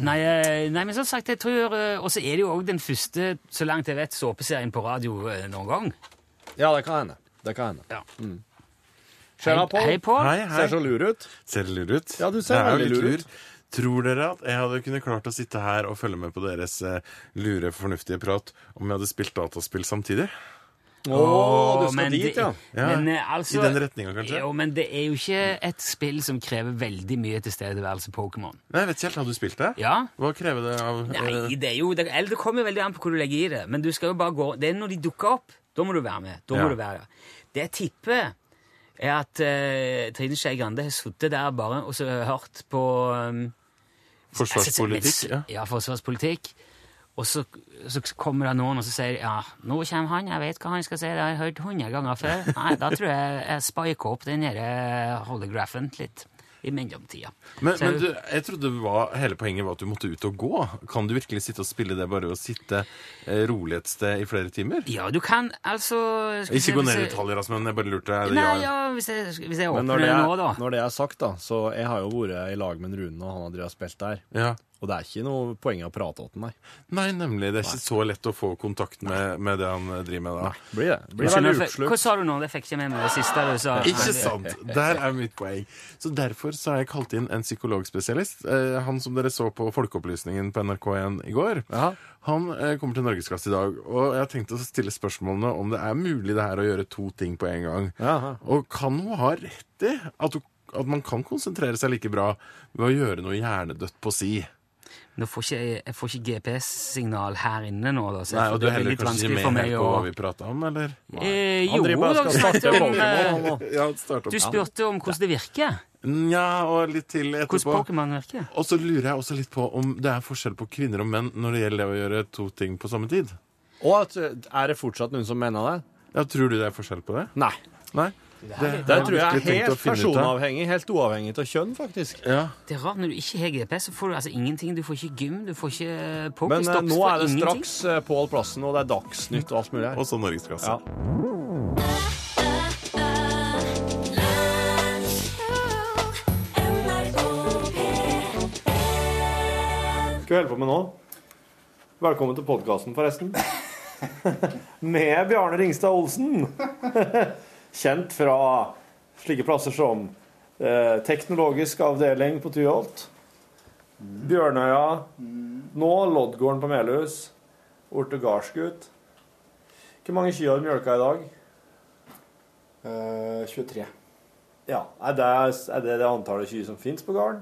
Nei, eh, nei, men som sagt, jeg tror eh, Og så er det jo òg den første, så langt jeg vet, såpeserien på radio eh, noen gang.
Ja, det kan hende. Det kan hende.
Ja.
Mm. Ser jeg på?
Hei, på.
Hei, hei.
Ser så lur ut.
Ser det lur ut?
Ja, du ser
Jeg er jo
veldig
litt
lur ut.
Tror dere at jeg hadde kunnet klart å sitte her og følge med på deres eh, lure, fornuftige prat om jeg hadde spilt dataspill samtidig?
Å, du skal
men
dit,
det-
ja.
Ja,
Men, eh, altså,
I den retninga, kanskje?
Jo, men det er jo ikke et spill som krever veldig mye tilstedeværelse Pokémon.
Nei, jeg vet ikke helt. Har du spilt det?
Ja?
Hva krever det av eh,
Nei, det er jo det, Eller det kommer jo veldig an på hvor du legger i det, men du skal jo bare gå Det er når de dukker opp, da må du være med. Da
Ja.
må du være der. Det jeg tipper, er at eh, Trine Skei Grande har sittet der bare og så hørt på eh,
forsvarspolitikk?
Ja.
Ja.
ja, forsvarspolitikk. Og så, så kommer det noen og så sier ja, nå kommer han, jeg vet hva han skal si, det har jeg hørt hundre ganger før. Nei, da tror jeg jeg spiker opp den der eh, holografen litt. i mellomtida.
Men,
Så-
men du, jeg trodde det var, hele poenget var at du måtte ut og gå. Kan du virkelig sitte og spille det bare å sitte eh, rolig et sted i flere timer?
Ja, du kan altså skal vi se,
Ikke gå
hvis
ned i
jeg-
detaljer, altså, men jeg bare lurte. Er det
Nei,
ja?
ja, hvis jeg, hvis jeg
Men
åpner
når det,
nå, da.
er, når det er sagt, da, så jeg har jo vært i lag med en Rune, og han har drevet og spilt der.
ja.
Og det er ikke noe poeng å prate åt den, nei.
Nei, nemlig. Det er ikke så lett å få kontakt med, med det han eh, driver med da.
Blir det. det
Jeg
blir
skjønner,
veldig
for- Hva
oppslukt.
sa du nå? Det fikk ikke med meg det siste du sa. eh,
Ikke sant! Der er mitt poeng. Så Derfor så har jeg kalt inn en psykologspesialist. Eh, han som dere så på Folkeopplysningen på NRK1 i går.
Ja.
Han eh, kommer til Norgesklasse i dag. Og jeg har tenkt å stille spørsmålene om det er mulig det her å gjøre to ting på en gang.
Jaha.
Og kan hun ha rett i at, hun, at man kan konsentrere seg like bra ved å gjøre noe hjernedødt på si?
Nå får ikke, jeg- jeg får ikke GPS-signal her inne nå, da, så jeg-
Nei, og du
det blir
heller
litt
kanskje
vanskelig
ikke
for
med
meg
helt på hva
å
vi prata om, eller?
eh, Jo,
Han driver bare
da
og skal
snakket
starte
vi om
Pokémon.
eh,
han nå.
Ja, start opp.
Du spurte om hvordan det virker.
Nja, og litt til
Hvordan
etterpå.
Pokémon virker.
Og så lurer jeg også litt på om det er forskjell på kvinner og menn når det gjelder det å gjøre to ting på samme tid.
Og at, eh, er det fortsatt noen som mener det?
Ja, Tror du det er forskjell på det?
Nei.
Nei? Det,
Det tror jeg
virkelig
er
tenkt å
helt
finne ut av.
personavhengig, helt uavhengig av kjønn, faktisk.
Ja.
Det er rart, Når du ikke har GPS, så får du altså ingenting. Du får ikke gym, du får ikke
Men eh,
pokerstops.
nå
får
er det
ingenting.
straks eh, Pål Plassen, og det er Dagsnytt og alt mulig her.
Også norgesklasse.
Ja. Skal vi holde på med nå? Velkommen til podkasten, forresten. med Bjarne Ringstad Olsen. Kjent fra slike plasser som eh, Teknologisk avdeling på Tyholt, Bjørnøya, nå Loddgården på Melhus, Orte Gardsgut. Hvor mange kyr har du mjølka i dag?
23.
Ja, Er det er det, det antallet kyr som fins på gården?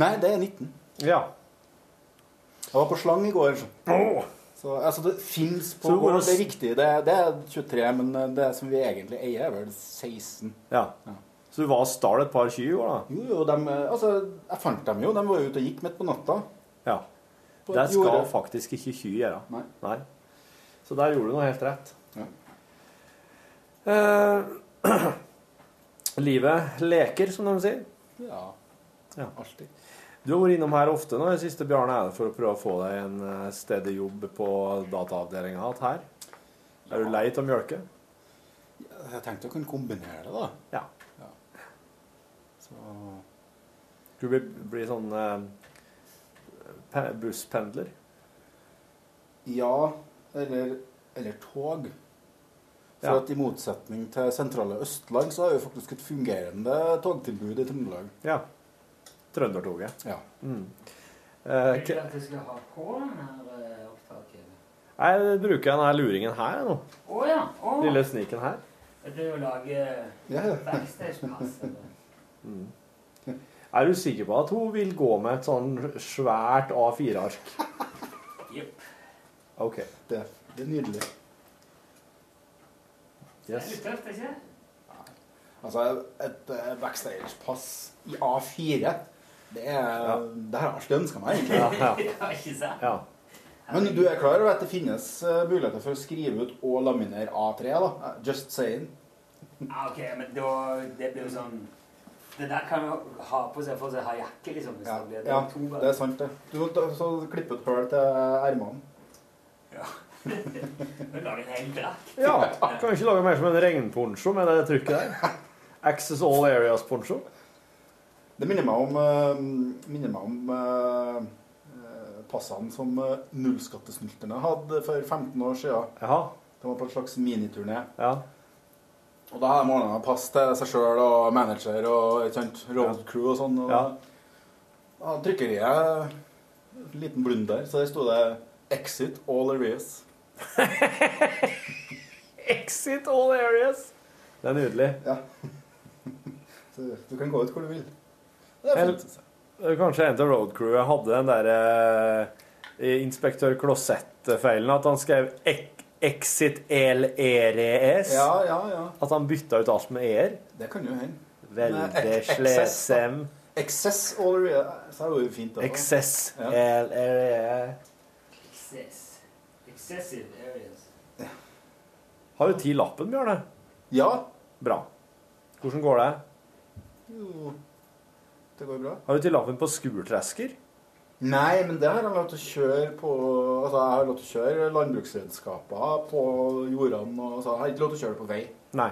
Nei, det er 19.
Ja.
Jeg var på slang i går. Så, så altså, det fins på
Så hvor-
gård, det er riktig. Det, det er 23, men eh, det som vi egentlig eier, er vel 16.
ja. Så du var og stjal et par kyr i går, da?
Jo, jo, dem, eh, altså, jeg fant dem jo. De var jo ute og gikk midt på natta.
Ja.
På
Det
et
skal
jorde.
faktisk ikke kyr gjøre.
Nei.
Så der gjorde du noe helt rett.
Ja.
Eh, livet leker, som de sier.
Ja.
Ja.
Alltid.
Du har vært innom her ofte nå i det siste, Bjarne, er det for å prøve å få deg en eh, stedig jobb på dataavdelinga hatt her. Er du lei av mjølke?
Jeg tenkte jeg kunne kombinere det, da.
Ja.
Så,
Skal du bli, bli sånn eh, pe- busspendler?
ja, eller, eller tog. For
Ja.
at i motsetning til sentrale Østland, så har vi faktisk et fungerende togtilbud i Trøndelag.
Ja. Trøndertoget.
Ja.
Eh, k- Nei, jeg bruker denne luringen her nå.
Å ja.
Lille sniken her.
Det er å lage
Ja, ja.
eh, backstage-pass.
Er du sikker på at hun vil gå med et sånn svært A4-ark?
Jepp.
OK.
Det, det er nydelig.
Yes.
tøft, ikke?
Altså, et eh, backstage-pass i A4, det, er, det har jeg alltid ønska meg. egentlig.
Ja, ja,
Ja, ikke sant?
ja.
Men du er klar over at det finnes eh, muligheter for å skrive ut og laminere A3? da? Eh, Just saying.
Ja, ok, men da, det blir jo sånn Det der kan jo ha på seg for seg ha jakke, liksom. Hvis
Ja,
det blir det
ja,
er to
det er sant, det. Du må ta- så klippe ut hull til ermene.
Men lage en hel drakt.
ja. Kan du ikke lage mer som en regnponcho med det trykket der? Access all areas-poncho.
Det minner meg om, eh, minner meg om eh, eh, passene som eh, nullskattesnylterne hadde for 15 år siden.
Jaha.
De var på en slags miniturné.
Ja.
Og da har de ordna pass til seg sjøl og manager og ikke sant, road crew og sånn. Og
Ja.
ja, trykkeriet en liten blunder, så der sto det 'Exit all areas'.
Exit all areas. Det er nydelig.
Ja. Så du kan gå ut hvor du vil. Det er
Eller-
fint. synes jeg.
Det er Kanskje en til road crewet hadde den der eh, inspektør Klosett-feilen. At han skrev ek Exit L-E-R-E-S.
Ja, ja, ja.
At han bytta ut alt med E-er.
Det kan jo hende. Nei,
Veldig
ek- excess, da.
slesem.
Excess all areas. Så er det jo fint. da.
Excess.
Ja.
L-R-E.
Excess. Excessive areas.
Har du ti lappen, Bjørne?
Ja.
Bra. Hvordan går det?
Jo.
Det går bra.
Har du til lappen på skurtresker?
Nei, men det har jeg lov til å kjøre på Altså, jeg har lov til å kjøre landbruksredskaper på jordene og så. Jeg har ikke lov til å kjøre det på vei.
Nei.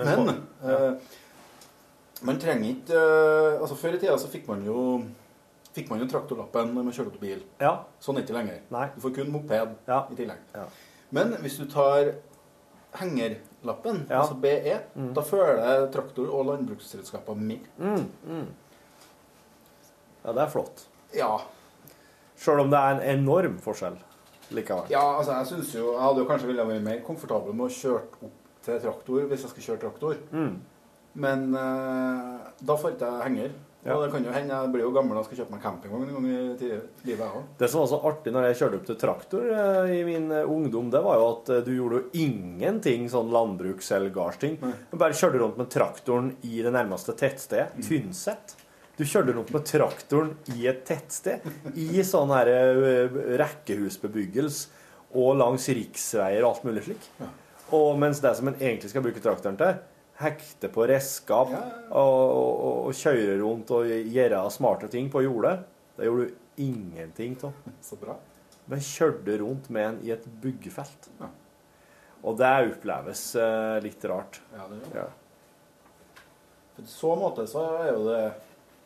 Men eh, man trenger ikke eh, Altså, før i tida så fikk man jo Fikk man jo traktorlappen når man kjørte til bil.
Ja.
Sånn er det ikke lenger.
Nei.
Du får kun moped
Ja.
i tillegg.
Ja.
Men hvis du tar hengerlappen,
Ja. Mm.
altså BE, da følger traktor og landbruksredskaper med.
ja, det er flott.
Ja.
Sjøl om det er en enorm forskjell likevel.
ja, altså jeg synes jo Jeg hadde jo kanskje ville vært mer komfortabel med å kjøre opp til traktor hvis jeg skulle kjøre traktor.
Mm.
Men eh, da får ikke jeg henger.
Ja.
Og det kan jo hende jeg blir jo gammel og skal kjøpe meg campingvogn en gang i ti- livet, jeg òg.
Det som var så artig når jeg kjørte opp til traktor eh, i min eh, ungdom, det var jo at eh, du gjorde jo ingenting sånn landbruks- eller gardsting. Du bare kjørte rundt med traktoren i det nærmeste tettstedet,
Mm.
Tynset. Du kjørte rundt med traktoren i et tettsted, i sånn her eh, rekkehusbebyggelse og langs riksveier og alt mulig slik. Og mens det som en egentlig skal bruke traktoren til, hekte på redskap og, og, og kjøre rundt og gjøre smarte ting på jordet, det gjorde du ingenting av.
Så bra.
Men kjørte rundt med en i et byggefelt.
Ja.
Og det oppleves eh, litt rart.
Ja, det er jo.
Ja.
I så måte så er jo det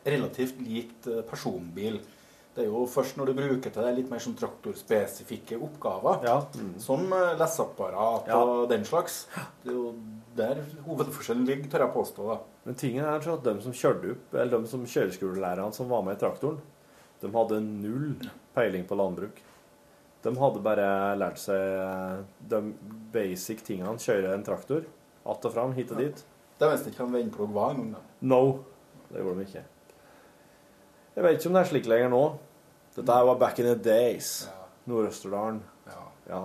relativt likt eh, personbil. Det er jo først når du bruker til det litt mer sånn traktorspesifikke oppgaver,
Ja.
som eh, leseapparat
Ja.
og den slags, det er jo der hovedforskjellen ligger, tør jeg påstå. da.
Men tingen er så at de som kjørte opp, eller de som kjøreskolelærerne som var med i traktoren, de hadde null peiling på landbruk. De hadde bare lært seg eh, de basic tingene, kjøre en traktor, att og fram, hit og dit.
Det visste ikke hva en vennplugg var engang. da.
No, det gjorde de ikke. Jeg vet ikke om det er slik lenger nå. Dette her var back in the days. Nord-Østerdalen.
Ja,
Ja,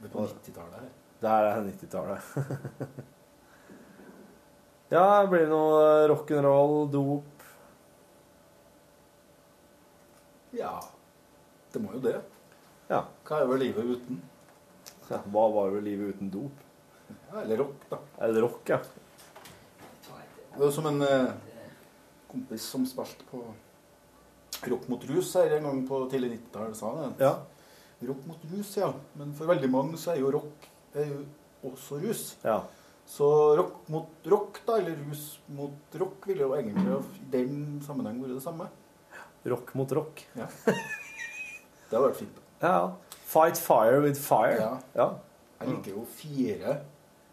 det er på 90-tallet her.
det her er 90-tallet. ja, det blir noe rock'n'roll, dop.
Ja, det må jo det.
Ja.
Hva er vel livet uten?
Ja, Hva var jo livet uten dop?
Ja, eller rock, da.
Er det rock, ja?
Det er jo som en eh, kompis som spilte på Rock mot rus her en gang på tidlig 90-tall, sa det.
Ja.
Rock mot rus, ja. Men for veldig mange så er jo rock er jo også rus.
ja.
Så rock mot rock, da, eller rus mot rock, ville jo egentlig i den sammenheng vært det samme.
Rock mot rock.
Ja. Det hadde vært fint. da.
Ja, ja. Fight fire with fire.
Ja.
Ja.
Mm.
Jeg liker jo fire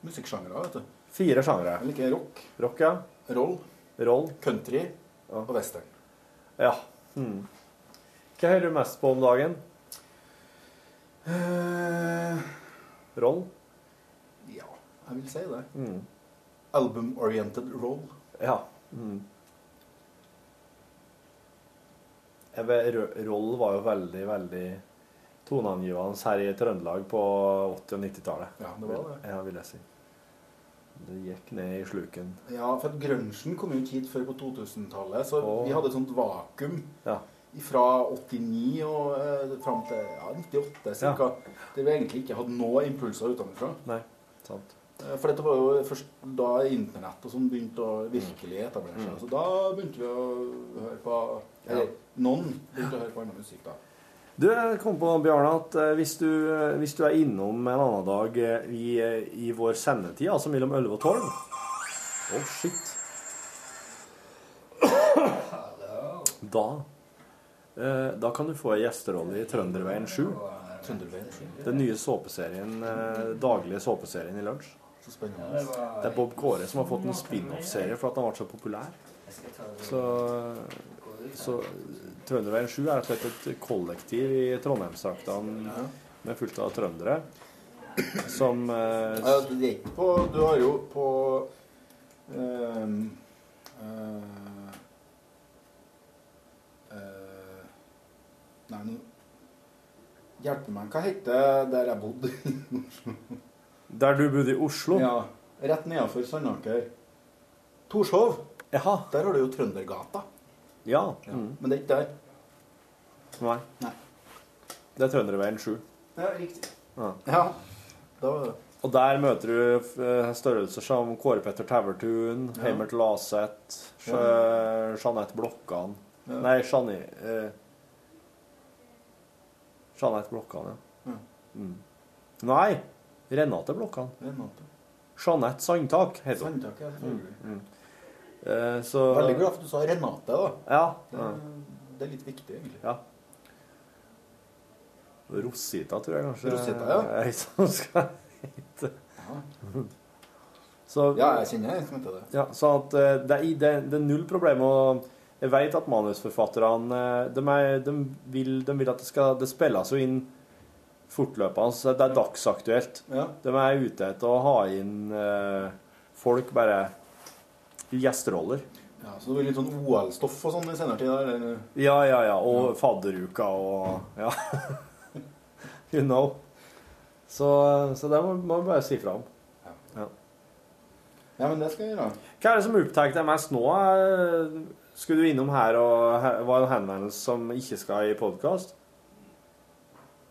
musikksjangere, vet du.
Fire sjangre.
Jeg liker rock,
Rock, ja.
roll,
Roll.
country og western.
Ja. Hmm. Hva hører du mest på om dagen?
Eh,
Roll?
Ja, jeg vil si det.
Mm.
Album-oriented roll.
Ja. Hmm. Jeg vet, Ro- roll var jo veldig, veldig toneangivende her i Trøndelag på 80- og 90-tallet.
Ja, det var det.
Ja, vil jeg si. Det gikk ned i sluken.
Ja, for at grunchen kom jo ikke hit før på 2000-tallet, så
Åh.
vi hadde et sånt vakuum
Ja.
fra 89 og eh, fram til ja, 98 ca. Der vi egentlig ikke hadde noen impulser utenfra.
Nei, sant.
Eh, For dette var jo først da internett og sånn begynte å virkelig etablere seg. Så da begynte vi å høre på Eller noen begynte å høre på annen musikk da.
Du, jeg kom på, Bjarne, at eh, hvis du, eh, hvis du er innom en annen dag eh, i, eh, i vår sendetid, altså mellom 11 og 12 Å, shit. Da eh, Da kan du få ei gjesterolle i Trønderveien 7.
Trønderveien. skjønner
Den nye såpeserien, eh, daglige såpeserien i lunsj.
du. Så spennende.
Det er Bob Kåre som har fått en spin-off-serie for at han ble så populær. Så, så Trønderveien 7 er rett og slett et kollektiv i Trondheimsdraktene med fullt av trøndere. Som eh,
Ja, det gikk på Du har jo på ehm, eh, eh, Nei, nå Hjelpe meg. Hva heter der jeg bodde?
Der du bodde i Oslo?
ja, rett nedenfor Sandaker. Torshov.
Jaha.
Der har du jo Trøndergata.
Ja. Mm.
Men det er ikke der.
Nei.
Nei.
Det er Trønderveien 7.
Ja, riktig.
Ja.
Ja, da var det
Og der møter du eh, størrelser som Kåre Petter Tauvertun, Heimert Laseth, Sj- eh, Jeanette Blokkan Nei, Jeanne eh, Jeanette Blokkan, ja.
Ja.
Mm. Nei, Renate Blokkan.
Det er natt.
Jeanette Sandtak heter hun. Mm,
Sandtak, ja, selvfølgelig.
Eh, så
Veldig glad for at du sa Renate, da.
Ja.
Det, det er litt viktig, egentlig.
ja. Rosita, tror jeg kanskje.
Rosita, ja.
er ei som skal hete.
Ja.
Så
Ja, jeg kjenner en som heter det.
Ja, så at eh, det, er, det, det er null problem å Jeg vet at manusforfatterne eh, de, er, de, vil, de vil at det skal Det spilles jo inn fortløpende. Så det er dagsaktuelt.
Ja.
De er ute etter å ha inn eh, folk bare i gjesteroller.
ja så det blir litt sånn OL-stoff og sånn i senere tid? da, Eller?
Ja, ja, ja. Og fadderuka og Ja. you know. Så, eh, så det må må vi bare si fra om.
Ja, men det skal jeg gjøre.
Hva er det som opptar deg mest nå? eh? Skulle du innom her og her var det en henvendelse som ikke skal i podkast?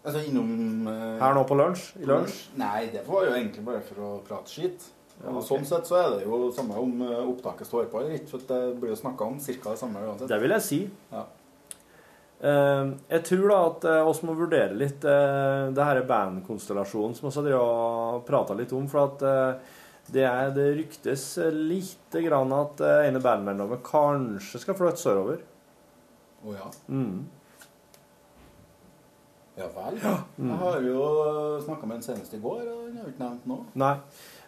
Altså innom eh,
Her nå på lunsj? I lunsj?
Nei, det var jo egentlig bare for å prate skit.
Ja,
Og
ok.
Sånn sett så er det jo samme om eh, opptaket står på eller ikke, for det blir jo snakka om ca. det samme uansett.
Det vil jeg si.
Ja.
Eh, Jeg tror da at eh, oss må vurdere litt eh, det her bandkonstellasjonen som vi har drevet og prata litt om. For at eh, det, er, det ryktes eh, lite grann at eh, ene bandmedlemmet kanskje skal flytte sørover.
Å ja.
Mm.
Ja vel. Jeg har jo
eh,
snakka med den seneste i går, og han har jo ikke nevnt noe.
Nei.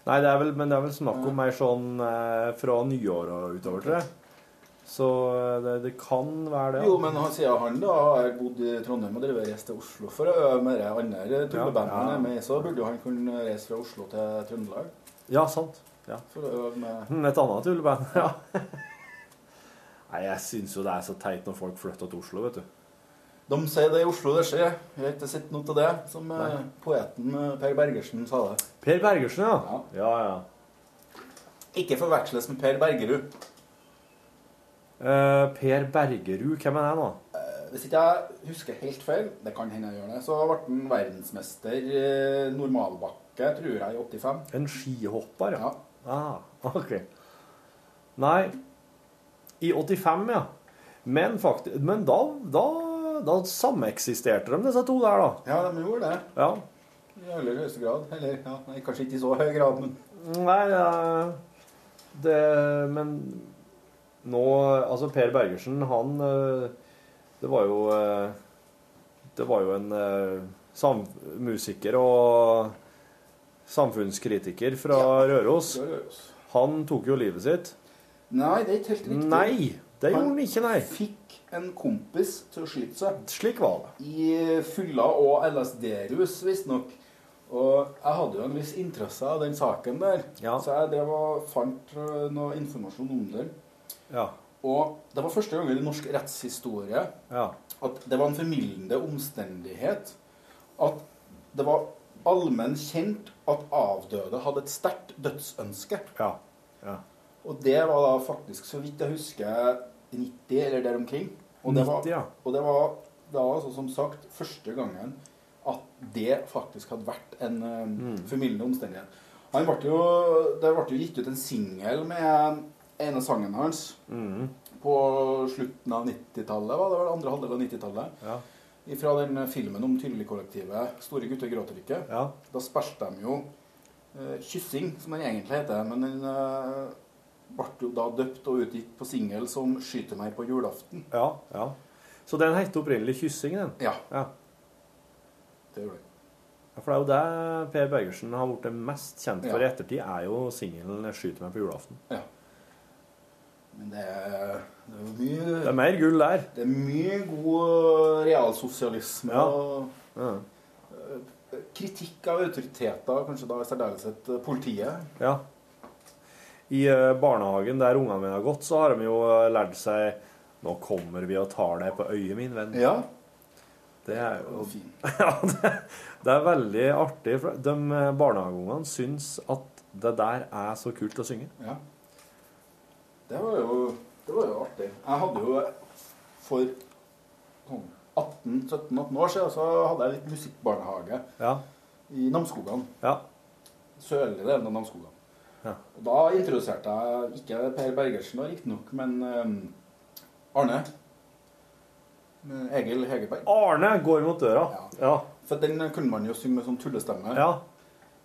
Nei, det er vel, men det er vel snakk om mer sånn eh, fra nyår og utover, tror jeg. Så eh, det, det kan være det.
Jo, men han sier han da har bodd i Trondheim og drevet reist til Oslo for å øve med det andre tullebandet han
Ja.
er med i, så burde jo han kunne reise fra Oslo til Trøndelag
Ja, sant. Ja.
for å øve med
Mm, Et annet tulleband, ja. Nei, jeg syns jo det er så teit når folk flytter til Oslo, vet du.
De sier det i Oslo det skjer. Jeg har ikke sett noe til det, som eh,
Nei.
poeten eh, Per Bergersen sa det.
Per Bergersen, ja. Ja, ja.
Ikke forveksles med Per Bergerud.
Eh, per Bergerud, hvem er det nå?
Eh, Hvis ikke jeg husker helt feil, det kan hende jeg gjør det, så ble han verdensmester eh, normalbakke, tror jeg, i 85.
En skihopper, ja.
Ja.
Ah, ok. Nei, i 85, ja. Men, fakti- men da, da, da sameksisterte de, disse to der, da.
ja, de gjorde det.
Ja.
I aller høyeste grad. Eller ja, nei, kanskje ikke i så høy grad, men
Nei, ja, det Men nå Altså, Per Bergersen, han eh, Det var jo eh, Det var jo en eh, sam musiker og samfunnskritiker fra Røros.
det gjør oss.
Han tok jo livet sitt.
Nei, det er ikke helt riktig.
Nei! Det gjorde han ikke, nei.
Fikk en kompis til å skyte seg.
Slik var det.
i fylla og LSD-rus, visstnok. Og jeg hadde jo en viss interesse av den saken der,
Ja.
så jeg drev og fant øh, noe informasjon om den.
Ja.
Og det var første gang i norsk rettshistorie
Ja.
at det var en formildende omstendighet at det var allmenn kjent at avdøde hadde et sterkt dødsønske.
Ja. ja.
Og det var da faktisk, så vidt jeg husker, 90 eller der omkring. Og det var,
90, ja.
og det var da altså, som sagt første gangen at det faktisk hadde vært en eh,
Mm.
formildende omstendighet. Han ble jo, det ble jo gitt ut en singel med ene sangen hans
Mm.
på slutten av 90-tallet, var det vel andre halvdel av 90-tallet.
Ja.
Fra den filmen om Tyrili-kollektivet 'Store gutter gråter ikke'.
ja.
Da spilte de jo eh, 'Kyssing', som den egentlig heter. Men den eh, ble jo da døpt og utgitt på singel som 'Skyter meg på julaften'.
ja. ja. Så den het opprinnelig 'Kyssing', den.
Ja,
Ja.
det gjorde den.
Ja, For det er jo det Per Bergersen har blitt mest kjent for i
Ja.
ettertid, er jo singelen 'Skyter meg på julaften'.
Ja. Men det er, det er jo mye
Det er mer gull der.
Det er mye god eh, realsosialisme
Ja.
og eh,
Ja.
kritikk av autoriteter, kanskje da i særdeleshet eh, politiet.
ja. I eh, barnehagen der ungene mine har gått, så har de jo eh, lært seg 'Nå kommer vi og tar deg på øyet, min venn'.
Ja.
Det er
Det var
jo
fint.
ja, det, det er veldig artig. For de eh, barnehageungene syns at det der er så kult å synge.
Ja. Det var jo, det var jo artig. Jeg hadde jo for sånn 18-17-18 år siden så hadde jeg litt musikkbarnehage
Ja.
i Namsskogan.
Ja.
sørlige delen av Namsskogan. Og da introduserte jeg ikke Per Bergersen, da, riktignok, men eh, Arne. Eh, Egil Hegerberg.
Arne går mot døra. Ja.
For den kunne man jo synge med sånn tullestemme.
ja.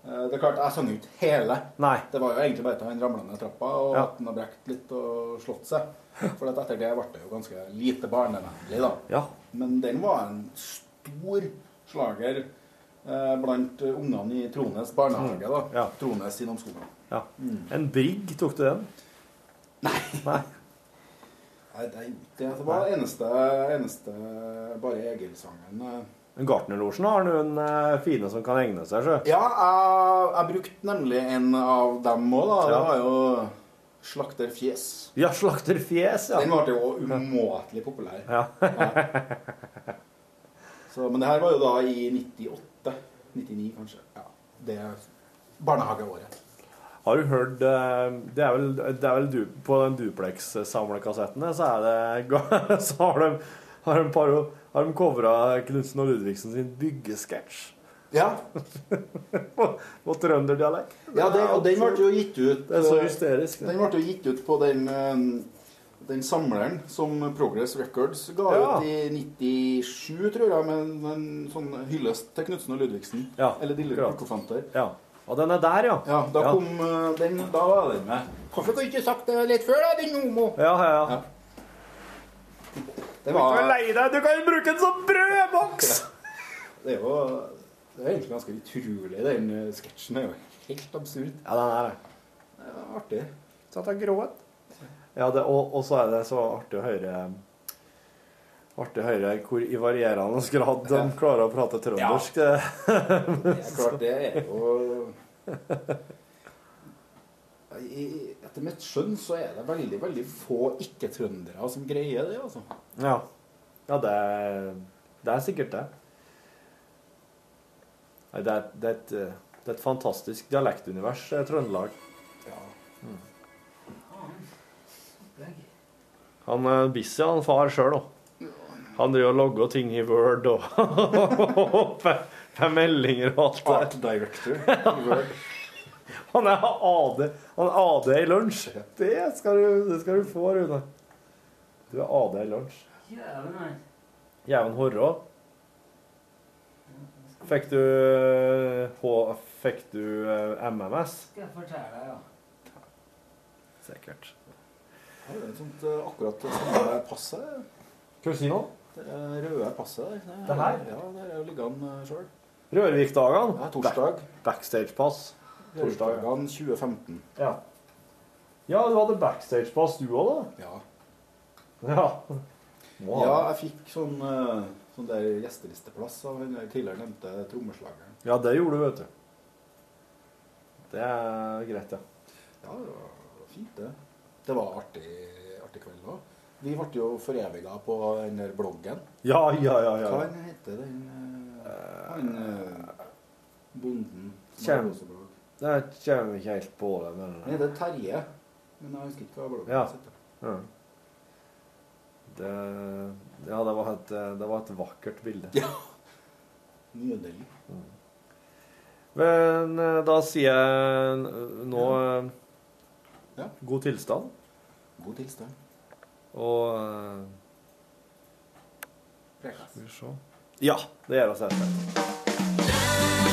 Eh, Det er klart, Jeg sang jo ikke hele.
Nei.
Det var jo egentlig bare til han ramla ned trappa og
Ja.
at han har brekt litt og slått seg. For at etter det ble det jo ganske lite barnevennlig, da.
Ja.
Men den var en stor slager eh, blant ungene i Trones barnehage. da.
Mm, Ja.
Trones i Namsskogan. Mm.
ja. En brigg, tok du den? Nei.
Nei, Det, det, det var eneste, eneste bare Egil-sangen. eh.
Men Gartnerlosjen har noen eh, fine som kan egne seg, sjø.
Ja, jeg, jeg brukte nemlig en av dem òg, da. Det
Ja.
var jo Slakter Fjes.
Ja, slakterfjes, ja.
Den ble jo umåtelig populær.
ja.
Så, men det her var jo da i 98. 99, kanskje. Ja, det barnehageåret.
Har du hørt eh, Det er vel, det er vel du, på den Duplex-samlekassetten der, så er det ga- Så har de, har de, paro, har de covra Knutsen og Ludvigsen sin byggesketsj
Ja,
på, på trønderdialekt.
ja det, og den ble jo gitt ut
Det er så hysterisk.
Den
Det.
ble jo gitt ut på den, eh, den samleren som Progress Records ga
Ja.
ut i 97, tror jeg, med en, en sånn hyllest til Knutsen og Ludvigsen.
Ja,
Eller Dille
akkurat.
Krokofanter.
Ja. Og den er der, ja.
Ja, da
Ja.
kom eh, den Da var den med. Hvorfor kunne du ikke sagt det litt før, da, din homo?
Ja, ja, ja.
Ja. Det
Du er
var
lei deg! Du kan jo bruke den som brødboks!
Det er jo det er egentlig ganske utrolig. Den eh, sketsjen er jo helt absurd.
Ja, den er det.
Det er artig.
Så at han gråt. Ja, det, og, og så er det så artig å høre Artig å høre hvor i varierende grad de klarer å prate trøndersk. Det-
Det er klart, det er jo I, i- Etter mitt skjønn så er det veldig, veldig få ikke-trøndere som greier det, altså.
Ja, ja det, er- det er sikkert det. Nei, det, er, det, er et, eh, det er et fantastisk dialektunivers, eh, Trøndelag. Han er busy, han far sjøl òg. Han driver og logger ting i Word og med- med meldinger og alt det der.
Art director. i Word.
Han er AD, han er AD i lunsj. Det skal, du, det skal du få, Rune. Du er AD i lunsj. Jæven horrå. Fikk du H... Fikk du eh, MMS?
Skal jeg fortelle deg, ja.
Sikkert.
Her er det et sånt eh, akkurat det samme passet.
Hva si nå?
Det er røde passet der. er-
Det her?
Ja, der er jo liggende eh, sjøl.
Rørvikdagene.
Ja, torsdag.
Backstagepass. Torsdag, ja.
Torsdagene 2015.
Ja. ja, du hadde backstagepass du òg,
Ja.
da? Ja.
Ja, jeg fikk sånn, eh, sånn der gjestelisteplass av den der tidligere nevnte trommeslageren.
ja, det gjorde du, vet du. Det er greit, ja.
Ja, det var fint, det. Det var artig, artig kveld òg. Vi ble jo foreviga på den der bloggen.
Ja, ja, ja. ja.
Hva den heter den eh, Han eh, bonden som
Kjem.
har roseblogg?
Jeg kommer ikke helt på det, men
Han heter Terje, men jeg husker ikke hva bloggen
Ja.
heter.
ja. Det, ja, det var, et, det var et vakkert bilde.
Ja. Nydelig.
Men eh, da sier jeg n- nå eh,
Ja.
god tilstand,
God tilstand.
og eh,
Prekas.
Skal vi se Ja, det gjør oss helt